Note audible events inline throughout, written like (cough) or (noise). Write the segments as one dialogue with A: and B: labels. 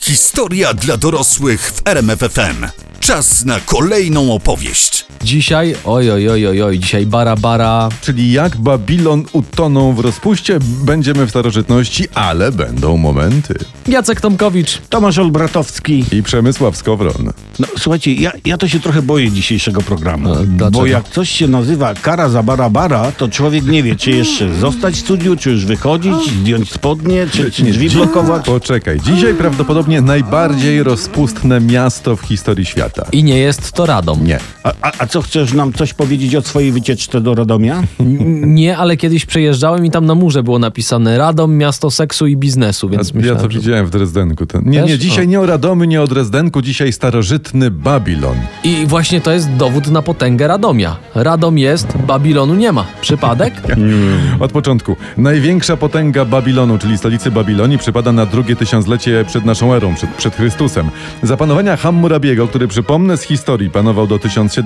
A: Historia dla dorosłych w RMFFM. Czas na kolejną opowieść.
B: Dzisiaj, oj, oj, oj, oj, oj, dzisiaj bara, bara.
C: Czyli jak Babilon utonął w rozpuście, będziemy w starożytności, ale będą momenty.
B: Jacek Tomkowicz.
D: Tomasz Olbratowski.
C: I Przemysław Skowron.
D: No, słuchajcie, ja, ja to się trochę boję dzisiejszego programu.
C: No,
B: A, dlaczego?
D: Bo jak coś się nazywa kara za barabara, to człowiek nie wie, czy jeszcze zostać w studiu, czy już wychodzić, zdjąć spodnie, czy, czy drzwi
C: Dzi-
D: blokować.
C: Poczekaj, dzisiaj prawdopodobnie najbardziej rozpustne miasto w historii świata.
B: I nie jest to Radom.
C: Nie.
D: A, a, a co, chcesz nam coś powiedzieć o swojej wycieczce do Radomia?
B: N- Nie, ale kiedyś przejeżdżałem i tam na murze było napisane Radom, miasto seksu i biznesu, więc
C: ja
B: myślałem,
C: to
B: że...
C: widziałem w Drezdenku. Ten... Nie,
B: Też?
C: nie, dzisiaj
B: O.
C: nie o Radomy, nie o Drezdenku, dzisiaj starożytny Babilon.
B: I właśnie to jest dowód na potęgę Radomia. Radom jest, Babilonu nie ma. Przypadek?
C: (laughs) Od początku. Największa potęga Babilonu, czyli stolicy Babilonii, przypada na drugie tysiąclecie przed naszą erą, przed, przed Chrystusem. Za panowania Hammurabiego, który przypomnę z historii, panował do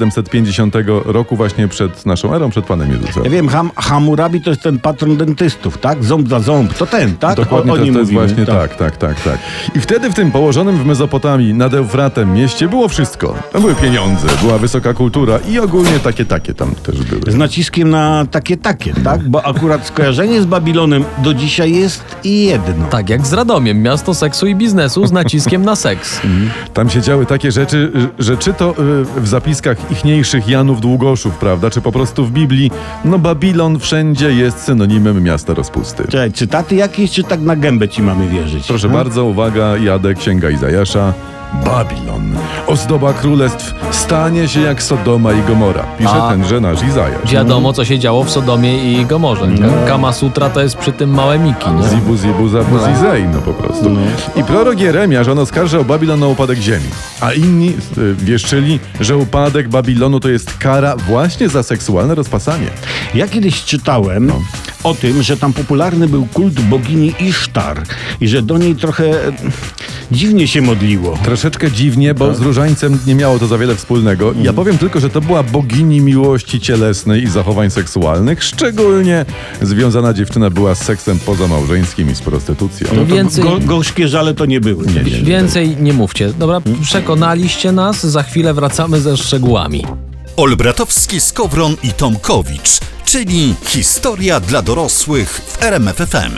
C: 1750 roku właśnie przed naszą erą, przed Panem Jezusem.
D: Ja wiem, Ham, Hammurabi to jest ten patron dentystów, tak? Ząb za ząb. To ten, tak?
C: Dokładnie
D: o, o
C: to,
D: nim
C: to jest
D: mówimy,
C: właśnie tak. tak, tak, tak. I wtedy w tym położonym w Mezopotamii nad Eufratem mieście było wszystko. Były pieniądze, była wysoka kultura i ogólnie takie, takie tam też były.
D: Z naciskiem na takie, takie, tak? Bo akurat skojarzenie z Babilonem do dzisiaj jest i jedno.
B: Tak jak z Radomiem, miasto seksu i biznesu z naciskiem na
C: (laughs)
B: seks.
C: Tam się działy takie rzeczy, że czy to y, w zapiskach ichniejszych Janów Długoszów, prawda, czy po prostu w Biblii, no Babilon wszędzie jest synonimem miasta rozpusty.
D: Czekaj, cytaty jakieś, czy tak na gębę ci mamy wierzyć?
C: Proszę
D: No.
C: bardzo, uwaga, jadę Księga Izajasza. Babilon, ozdoba królestw, stanie się jak Sodoma i Gomora, pisze
B: A-
C: tenże nasz Izajasz.
B: Wiadomo, co się działo w Sodomie i Gomorze.
C: No.
B: Kama Sutra to jest przy tym małe miki, nie?
C: Zibu, zibu, zabu, zizej, no po prostu. I prorok Jeremiasz, on oskarżał Babilon o upadek ziemi. A inni y, wieszczyli, że upadek Babilonu to jest kara właśnie za seksualne rozpasanie.
D: Ja kiedyś czytałem o tym, że tam popularny był kult bogini Isztar i że do niej trochę e, dziwnie się modliło.
C: Troszeczkę dziwnie, bo z różańcem nie miało to za wiele wspólnego. Ja powiem tylko, że to była bogini miłości cielesnej i zachowań seksualnych, szczególnie związana dziewczyna była z seksem pozamałżeńskim i z prostytucją.
B: No więcej...
D: Go, gorzkie żale to nie były. Nie, nie.
B: Więcej nie mówcie. Dobra, przekonaliście nas, za chwilę wracamy ze szczegółami.
A: Olbratowski, Skowron i Tomkowicz, czyli historia dla dorosłych w RMFFM.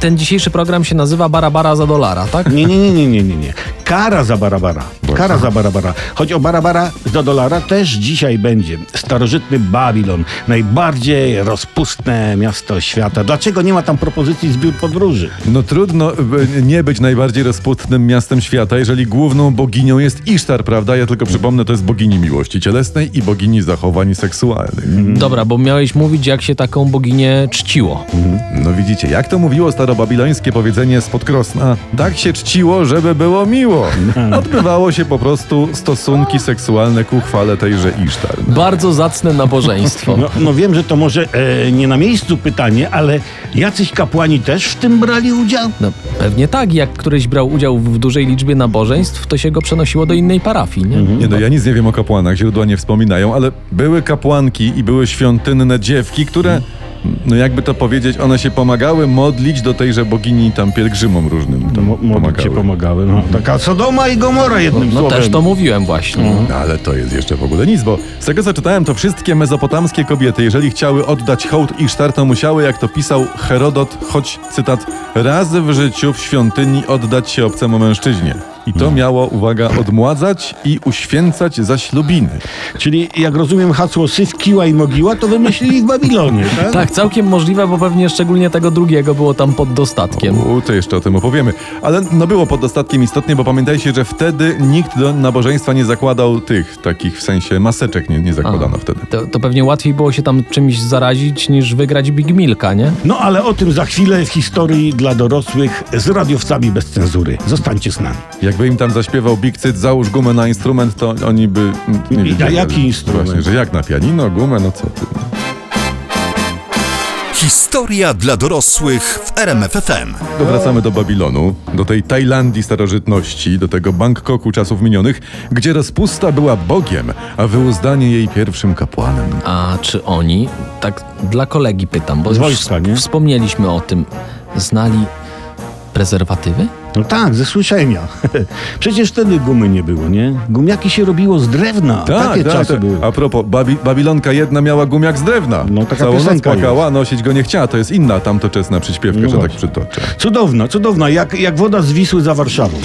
B: Ten dzisiejszy program się nazywa Barabara za dolara, tak?
D: Nie, nie, nie, nie, nie, nie, nie. Kara za barabara. Kara za barabara. Choć o barabara za dolara też dzisiaj będzie. Starożytny Babilon. Najbardziej rozpustne miasto świata. Dlaczego nie ma tam propozycji zbiór podróży?
C: No trudno e, nie być najbardziej rozputnym miastem świata, jeżeli główną boginią jest Isztar, prawda? Ja tylko przypomnę, to jest bogini miłości cielesnej i bogini zachowań seksualnych.
B: Dobra, bo miałeś mówić, jak się taką boginię czciło.
C: No widzicie, jak to mówiło starobabilońskie powiedzenie spod Krosna? Tak się czciło, żeby było miło. Odbywało się po prostu stosunki seksualne ku chwale tejże Isztar.
B: Bardzo zacne nabożeństwo.
D: (laughs) No, no wiem, że to może e, nie na miejscu pytanie, ale jacyś kapłani też w tym brali udział?
B: No, pewnie tak, jak któryś brał udział w dużej liczbie nabożeństw, to się go przenosiło do innej parafii, nie?
C: Nie no, ja nic nie wiem o kapłanach, źródła nie wspominają, ale były kapłanki i były świątynne dziewki, które, no jakby to powiedzieć, one się pomagały modlić do tejże bogini tam pielgrzymom różnym. Tam
D: No, Się
C: pomagały.
D: pomagały. No. Taka Sodoma i Gomora jednym
B: No
D: słowem.
B: też to mówiłem właśnie.
C: No ale to jest jeszcze w ogóle nic, bo z tego co czytałem, to wszystkie mezopotamskie kobiety, jeżeli chciały oddać hołd Isztar, to musiały, jak to pisał Herodot, choć cytat, raz w życiu w świątyni oddać się obcemu mężczyźnie. I to miało, uwaga, odmładzać i uświęcać zaślubiny.
D: Czyli jak rozumiem hasło syf, kiła i mogiła, to wymyślili w (laughs) Babilonie, tak?
B: Tak, całkiem możliwe, bo pewnie szczególnie tego drugiego było tam pod dostatkiem.
C: U, to jeszcze o tym opowiemy. Ale no było pod dostatkiem istotnie, bo pamiętajcie, że wtedy nikt do nabożeństwa nie zakładał tych, takich w sensie maseczek nie, nie zakładano wtedy.
B: To, to pewnie łatwiej było się tam czymś zarazić niż wygrać Big Milka, nie?
D: No ale o tym za chwilę w historii dla dorosłych z radiowcami bez cenzury. Zostańcie z nami.
C: Jakby im tam zaśpiewał Big Cyt, załóż gumę na instrument, to oni by... mm,
D: I-
C: Nie
D: a
C: wiedzieli.
D: jaki instrument?
C: Właśnie, że jak na pianino, gumę, no co ty. no.
A: Historia dla dorosłych w RMFFM.
C: To wracamy do Babilonu, do tej Tajlandii starożytności, do tego Bangkoku czasów minionych, gdzie rozpusta była Bogiem, a wyuzdanie jej pierwszym kapłanem.
B: A czy oni, tak dla kolegi pytam, bo
D: Z
B: już
D: wojska,
B: sp-
D: nie?
B: wspomnieliśmy o tym, znali prezerwatywy?
D: No tak, ze słyszenia. (laughs) Przecież wtedy gumy nie było, nie? Gumiaki się robiło z drewna. Takie czasy
C: to-
D: były.
C: Tak, A propos, Babi Babilonka jedna miała gumiak z drewna.
D: No, taka
C: Całą noc
D: piosenka
C: płakała, nosić go nie chciała. To jest inna tamtoczesna przyśpiewka,
D: No
C: że tak
D: właśnie.
C: przytoczę.
D: Cudowna, cudowna, jak, jak woda z Wisły za Warszawą.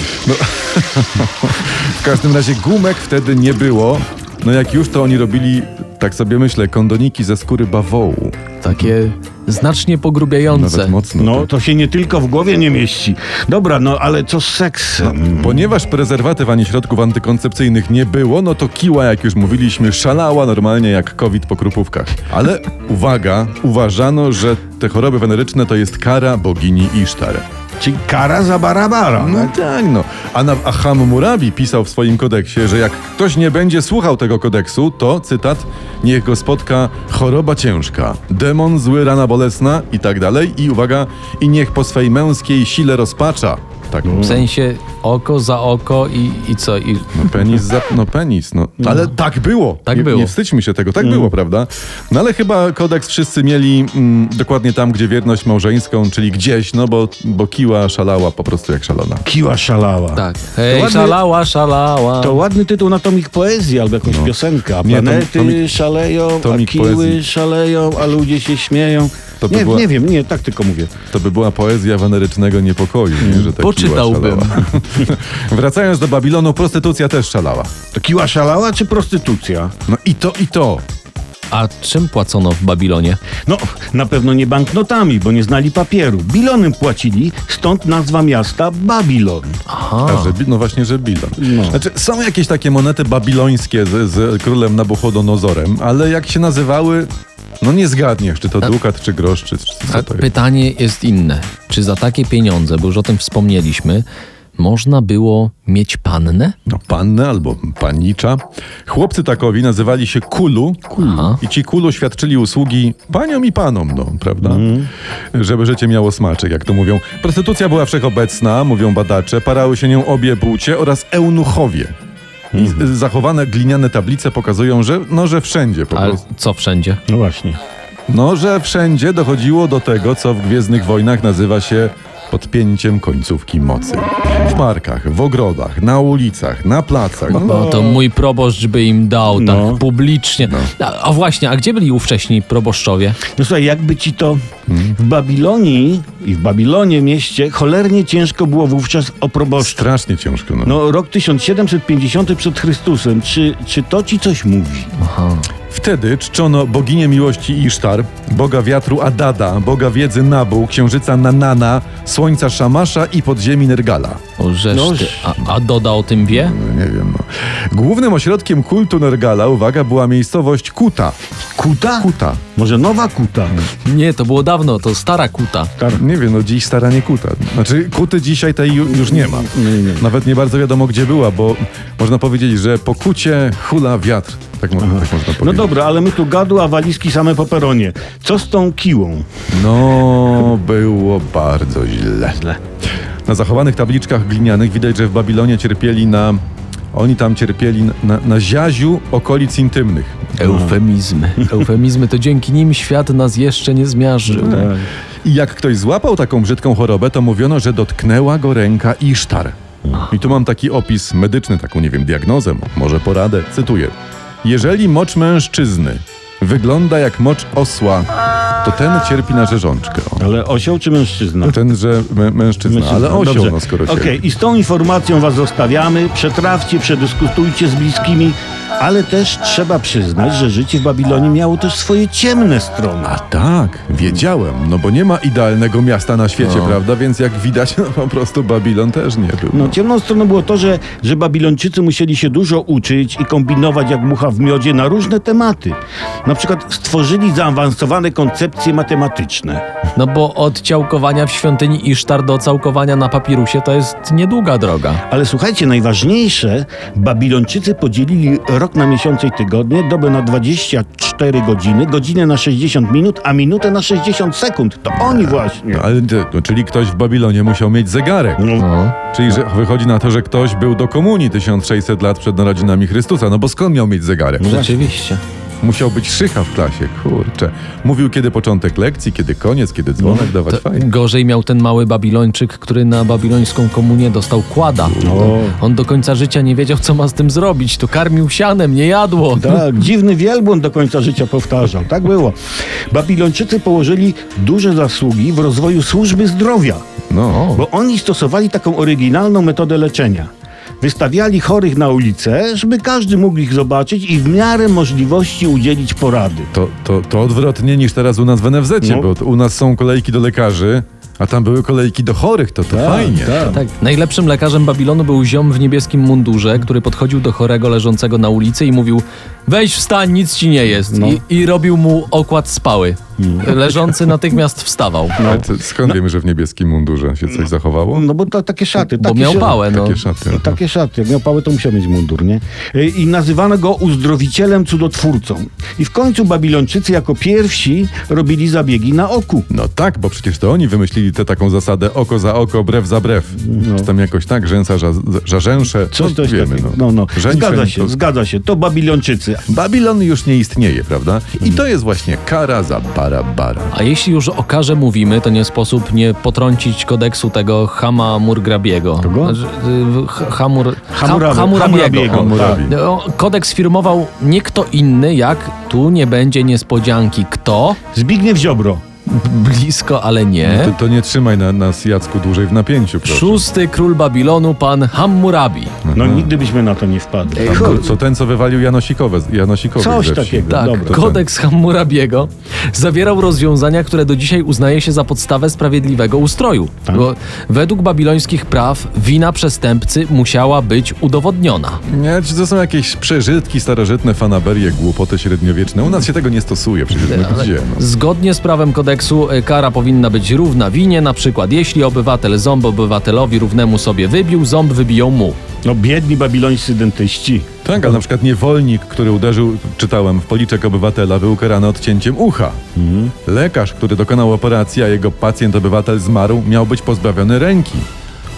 C: W każdym razie gumek wtedy nie było. No jak już, to oni robili, tak sobie myślę, kondoniki ze skóry bawołu.
B: Takie znacznie
C: Nawet
B: pogrubiające.
C: mocno.
D: No, to się nie tylko w głowie nie mieści. Dobra, no ale co z seksem?
C: Ponieważ prezerwatyw ani środków antykoncepcyjnych nie było, no to kiła, jak już mówiliśmy, szalała normalnie jak COVID po krupówkach. Ale uwaga, uważano, że te choroby weneryczne to jest kara bogini Isztar.
D: Czyli kara za barabara.
C: No
D: No.
C: tak, no. A, na, a Hammurabi pisał w swoim kodeksie, że jak ktoś nie będzie słuchał tego kodeksu, to, cytat, niech go spotka choroba ciężka, demon zły, rana bolesna i tak dalej. I uwaga, i niech po swej męskiej sile rozpacza. Tak,
B: No. W sensie oko za oko i, i co? I
C: penis za, no penis, no. Ale tak było.
B: Tak
C: nie,
B: było. Mm.
C: Nie wstydźmy się tego, tak było, prawda? No ale chyba kodeks wszyscy mieli mm, dokładnie tam, gdzie wierność małżeńską, czyli gdzieś, no bo, bo kiła szalała po prostu jak szalona.
D: Kiła szalała.
B: tak. Hej,
D: ładnie-
B: szalała, szalała.
D: To ładny tytuł na tomik poezji albo jakąś piosenkę. A
C: No. Nie, tom-
D: planety
C: tomik-
D: szaleją, a
C: tomik
D: kiły
C: poezji.
D: szaleją, a ludzie się śmieją.
C: To by
D: nie,
C: była-
D: nie wiem, nie, tak tylko mówię.
C: To by była poezja wenerycznego niepokoju, nie? że tak
B: Poczytałbym.
C: (laughs) Wracając do Babilonu, prostytucja też szalała.
D: To kiła szalała czy prostytucja?
C: No i to, i to.
B: A czym płacono w Babilonie?
D: No, na pewno nie banknotami, bo nie znali papieru. Bilonem płacili, stąd nazwa miasta Babilon.
B: Aha.
C: A, że, Bi- no właśnie, że Bilon. Znaczy, są jakieś takie monety babilońskie z, z królem Nabuchodonozorem, ale jak się nazywały, no nie zgadniesz, czy to dukat, czy grosz, czy czy co
B: A
C: to jest.
B: pytanie jest inne. Czy za takie pieniądze, bo już o tym wspomnieliśmy, można było mieć pannę?
C: No, pannę albo panicza. Chłopcy takowi nazywali się kulu.
B: Aha.
C: I ci kulu świadczyli usługi paniom i panom, no, prawda? Żeby życie miało smaczek, jak to mówią. Prostytucja była wszechobecna, mówią badacze, parały się nią obie płcie oraz eunuchowie. I z- zachowane gliniane tablice pokazują, że, no, że wszędzie po
B: Ale
C: prostu.
B: co wszędzie?
D: No właśnie.
C: No, że wszędzie dochodziło do tego, co w Gwiezdnych Wojnach nazywa się podpięciem końcówki mocy. W parkach, w ogrodach, na ulicach, na placach. No,
B: No No. to mój proboszcz by im dał
D: No.
B: tak publicznie. A, a właśnie, a gdzie byli ówcześni proboszczowie?
D: No słuchaj, jakby ci to w Babilonii i w Babilonie mieście cholernie ciężko było wówczas o proboszcza.
C: Strasznie ciężko. No.
D: No rok 1750 przed Chrystusem. Czy, czy to ci coś mówi?
C: Wtedy czczono boginię miłości Isztar, boga wiatru Adada, boga wiedzy Nabu, księżyca Nanana, słońca Szamasza i podziemi Nergala.
B: O, żeż
D: No,
B: ty. A, a Doda o tym wie?
C: No, nie wiem. No. Głównym ośrodkiem kultu Nergala, uwaga, była miejscowość Kuta.
D: Kuta?
C: Kuta. No,
D: Może nowa kuta? No
B: Nie, to było dawno, to stara kuta.
C: Nie wiem, no dziś stara nie Kuta. Znaczy, Kuty dzisiaj tej ju- już nie ma. Nawet nie bardzo wiadomo, gdzie była, bo można powiedzieć, że po Kucie hula wiatr. Tak, mo- tak można powiedzieć.
D: No dobra, ale my tu gadła, walizki same po peronie. Co z tą kiłą?
C: No, było bardzo źle. Na zachowanych tabliczkach glinianych widać, że w Babilonie cierpieli na. Oni tam cierpieli na, na, na ziaziu okolic intymnych.
B: Eufemizmy. (laughs) Eufemizmy to dzięki nim świat nas jeszcze nie zmiażdżył.
C: I jak ktoś złapał taką brzydką chorobę, to mówiono, że dotknęła go ręka Isztar. I tu mam taki opis medyczny, taką nie wiem, diagnozę, może poradę. Cytuję. Jeżeli mocz mężczyzny wygląda jak mocz osła, to ten cierpi na rzeżączkę. O.
D: Ale osioł czy mężczyzna?
C: No Ten, że mę, mężczyzna, ale osioł, no skoro
D: Okej,
C: cierpi.
D: i z tą informacją was zostawiamy. Przetrawcie, przedyskutujcie z bliskimi, ale też trzeba przyznać, że życie w Babilonie miało też swoje ciemne strony.
C: A tak, wiedziałem, no bo nie ma idealnego miasta na świecie, prawda? Więc jak widać, (laughs) no po prostu Babilon też nie był.
D: No, ciemną stroną było to, że, że Babilończycy musieli się dużo uczyć i kombinować jak mucha w miodzie na różne tematy. Na przykład stworzyli zaawansowane koncepcje matematyczne.
B: No bo od ciałkowania w świątyni Isztar do całkowania na papirusie to jest niedługa droga.
D: Ale słuchajcie, najważniejsze, Babilończycy podzielili rok na miesiące i tygodnie, dobę na 24 godziny, godzinę na 60 minut, a minutę na 60 sekund. To oni właśnie.
C: No, ale, ty- no, czyli ktoś w Babilonie musiał mieć zegarek.
D: No,
B: No.
C: Czyli że wychodzi na to, że ktoś był do komunii 1600 lat przed narodzinami Chrystusa. No bo skąd miał mieć zegarek?
B: Rzeczywiście.
C: Musiał być szycha w klasie, kurczę. Mówił kiedy początek lekcji, kiedy koniec, kiedy dzwonek, dawać
B: To
C: fajnie.
B: gorzej miał ten mały Babilończyk, który na babilońską komunię dostał kłada. On do końca życia nie wiedział, co ma z tym zrobić. To karmił sianem, nie jadło.
D: tak, dziwny wielbłąd do końca życia powtarzał. Tak było. Babilończycy położyli duże zasługi w rozwoju służby zdrowia.
C: No,
D: Bo oni stosowali taką oryginalną metodę leczenia. Wystawiali chorych na ulicę, żeby każdy mógł ich zobaczyć i w miarę możliwości udzielić porady.
C: to, to, to odwrotnie niż teraz u nas w NFZ,
D: No.
C: bo to u nas są kolejki do lekarzy, a tam były kolejki do chorych, to to fajnie.
B: Tak. Najlepszym lekarzem Babilonu był ziom w niebieskim mundurze, który podchodził do chorego leżącego na ulicy i mówił: Weź wstań, nic ci nie jest.
D: No.
B: I, I robił mu okład spały.
D: Hmm.
B: Leżący natychmiast wstawał.
C: Ale to, skąd wiemy, że w niebieskim mundurze się coś zachowało?
D: No bo to takie szaty.
B: Bo
D: takie
B: miał
D: się-
B: pałę, no.
C: Takie szaty.
D: No, takie szaty. Jak miał pałę, to musiał mieć mundur, nie? Y, I nazywano go uzdrowicielem cudotwórcą. I w końcu Babilończycy jako pierwsi robili zabiegi na oku.
C: No tak, bo przecież to oni wymyślili tę taką zasadę oko za oko, brew za brew. Czy tam jakoś tak, rzęsa za, za rzęsze.
D: No. Coś
C: no,
D: coś
C: wiemy,
D: takiego.
C: no.
D: No, no.
C: Rzęś,
D: Zgadza
C: rzęs,
D: się,
C: to-
D: zgadza się. To Babilończycy.
C: Babilon już nie istnieje, prawda? I
D: Mhm.
C: to jest właśnie kara za Barabara.
B: A jeśli już o karze mówimy, to nie sposób nie potrącić kodeksu tego Hama Murgrabiego.
D: Kogo?
B: Że- y, H- Hamur... Ha-
D: Hamurabi- Hamurabiego.
C: Hammurabi.
D: Tak.
B: O, No, Kodeks firmował nie kto inny, jak tu nie będzie niespodzianki. Kto?
D: Tak. Zbigniew Ziobro.
B: Blisko, ale nie.
D: E?
C: To, to nie trzymaj na, nas, Jacku, dłużej w napięciu, proszę.
B: Szósty król Babilonu, pan Hammurabi.
D: No nigdy byśmy na to nie wpadli.
C: To, to ten, co wywalił Janosikowe, Janosikowych
D: Coś
C: ze wsi.
D: takiego.
B: Tak,
D: Dobra.
B: kodeks Hammurabiego zawierał rozwiązania, które do dzisiaj uznaje się za podstawę sprawiedliwego ustroju.
C: Tak.
B: Bo według babilońskich praw wina przestępcy musiała być udowodniona.
C: Nie, czy to są jakieś przeżytki starożytne, fanaberie, głupoty średniowieczne. U nas się tego nie stosuje, przecież no gdzie? No.
B: Zgodnie z prawem kodeksu y, kara powinna być równa winie, na przykład jeśli obywatel ząb obywatelowi równemu sobie wybił, ząb wybiją mu.
D: No biedni babilońscy dentyści.
C: Tak, ale na przykład niewolnik, który uderzył, czytałem, w policzek obywatela, był karany odcięciem ucha.
D: Mhm.
C: Lekarz, który dokonał operacji, a jego pacjent obywatel zmarł, miał być pozbawiony ręki.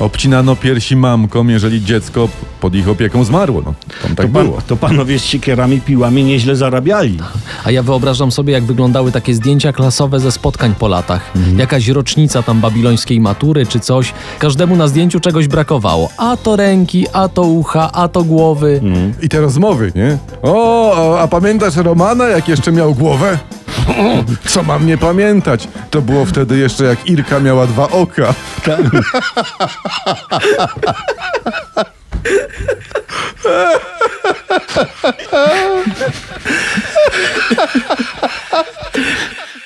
C: Obcinano piersi mamkom, jeżeli dziecko pod ich opieką zmarło. No, tam tak
D: to, pan,
C: było.
D: to panowie z siekierami, piłami nieźle zarabiali.
B: A ja wyobrażam sobie, jak wyglądały takie zdjęcia klasowe ze spotkań po latach. Jakaś rocznica tam babilońskiej matury czy coś. Każdemu na zdjęciu czegoś brakowało. A to ręki, a to ucha, a to głowy.
C: I te rozmowy, nie? O, a pamiętasz Romana, jak jeszcze miał głowę? (clears throat) Co mam nie pamiętać? To było wtedy jeszcze, jak Irka miała dwa oka.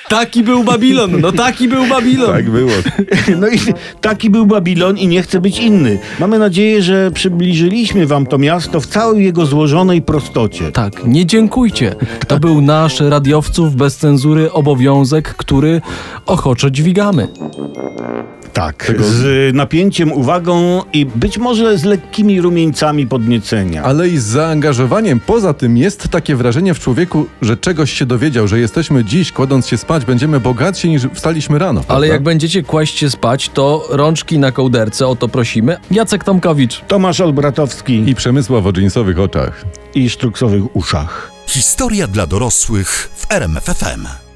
B: Taki był Babilon, no taki był Babilon.
C: Tak było.
D: (laughs) No i taki był Babilon i nie chce być inny. Mamy nadzieję, że przybliżyliśmy wam to miasto w całej jego złożonej prostocie.
B: Tak, nie dziękujcie. To był nasz radiowców bez cenzury obowiązek, który ochoczo dźwigamy.
D: Tak. Z napięciem, uwagą i być może z lekkimi rumieńcami podniecenia.
C: Ale i z zaangażowaniem. Poza tym jest takie wrażenie w człowieku, że czegoś się dowiedział, że jesteśmy dziś, kładąc się spać, będziemy bogatsi niż wstaliśmy rano.
B: Ale
C: prawda?
B: jak będziecie kłaść się spać, to rączki na kołderce, o to prosimy. Jacek Tomkowicz.
D: Tomasz Olbratowski
C: I Przemysław o dżinsowych oczach.
D: i, i sztruksowych uszach.
A: Historia dla dorosłych w RMFFM.